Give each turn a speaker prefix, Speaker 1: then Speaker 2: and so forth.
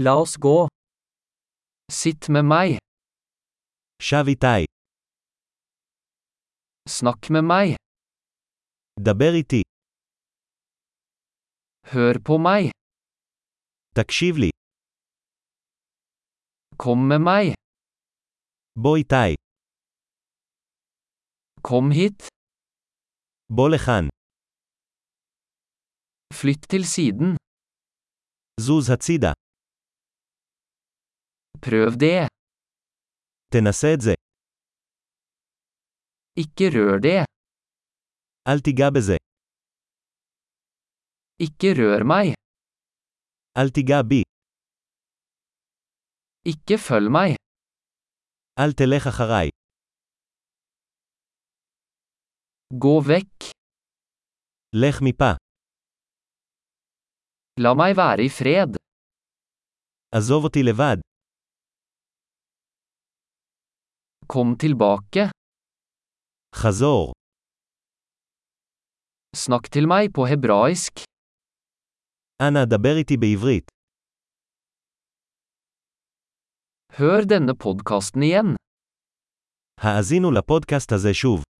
Speaker 1: La oss gå. Sitt med meg.
Speaker 2: שב איתי,
Speaker 1: Snakk med meg.
Speaker 2: דבר איתי,
Speaker 1: Hør på meg.
Speaker 2: תקשיב לי,
Speaker 1: Kom med meg.
Speaker 2: בוא איתי,
Speaker 1: Kom hit.
Speaker 2: בוא לכאן,
Speaker 1: Flytt til siden.
Speaker 2: זוז הצידה,
Speaker 1: Prøv det.
Speaker 2: תנסה את זה,
Speaker 1: Ikke rør det.
Speaker 2: אל תיגע בזה,
Speaker 1: Ikke rør meg.
Speaker 2: אל תיגע בי,
Speaker 1: Ikke følg meg.
Speaker 2: אל תלך אחריי,
Speaker 1: Gå vekk.
Speaker 2: לך מפה,
Speaker 1: La meg være i fred.
Speaker 2: עזוב אותי לבד,
Speaker 1: Kom tilbake.
Speaker 2: חזור,
Speaker 1: Snakk til meg på hebraisk.
Speaker 2: אנא דבר איתי בעברית,
Speaker 1: Hør denne podkasten igjen.
Speaker 2: האזינו לפודקאסט הזה שוב.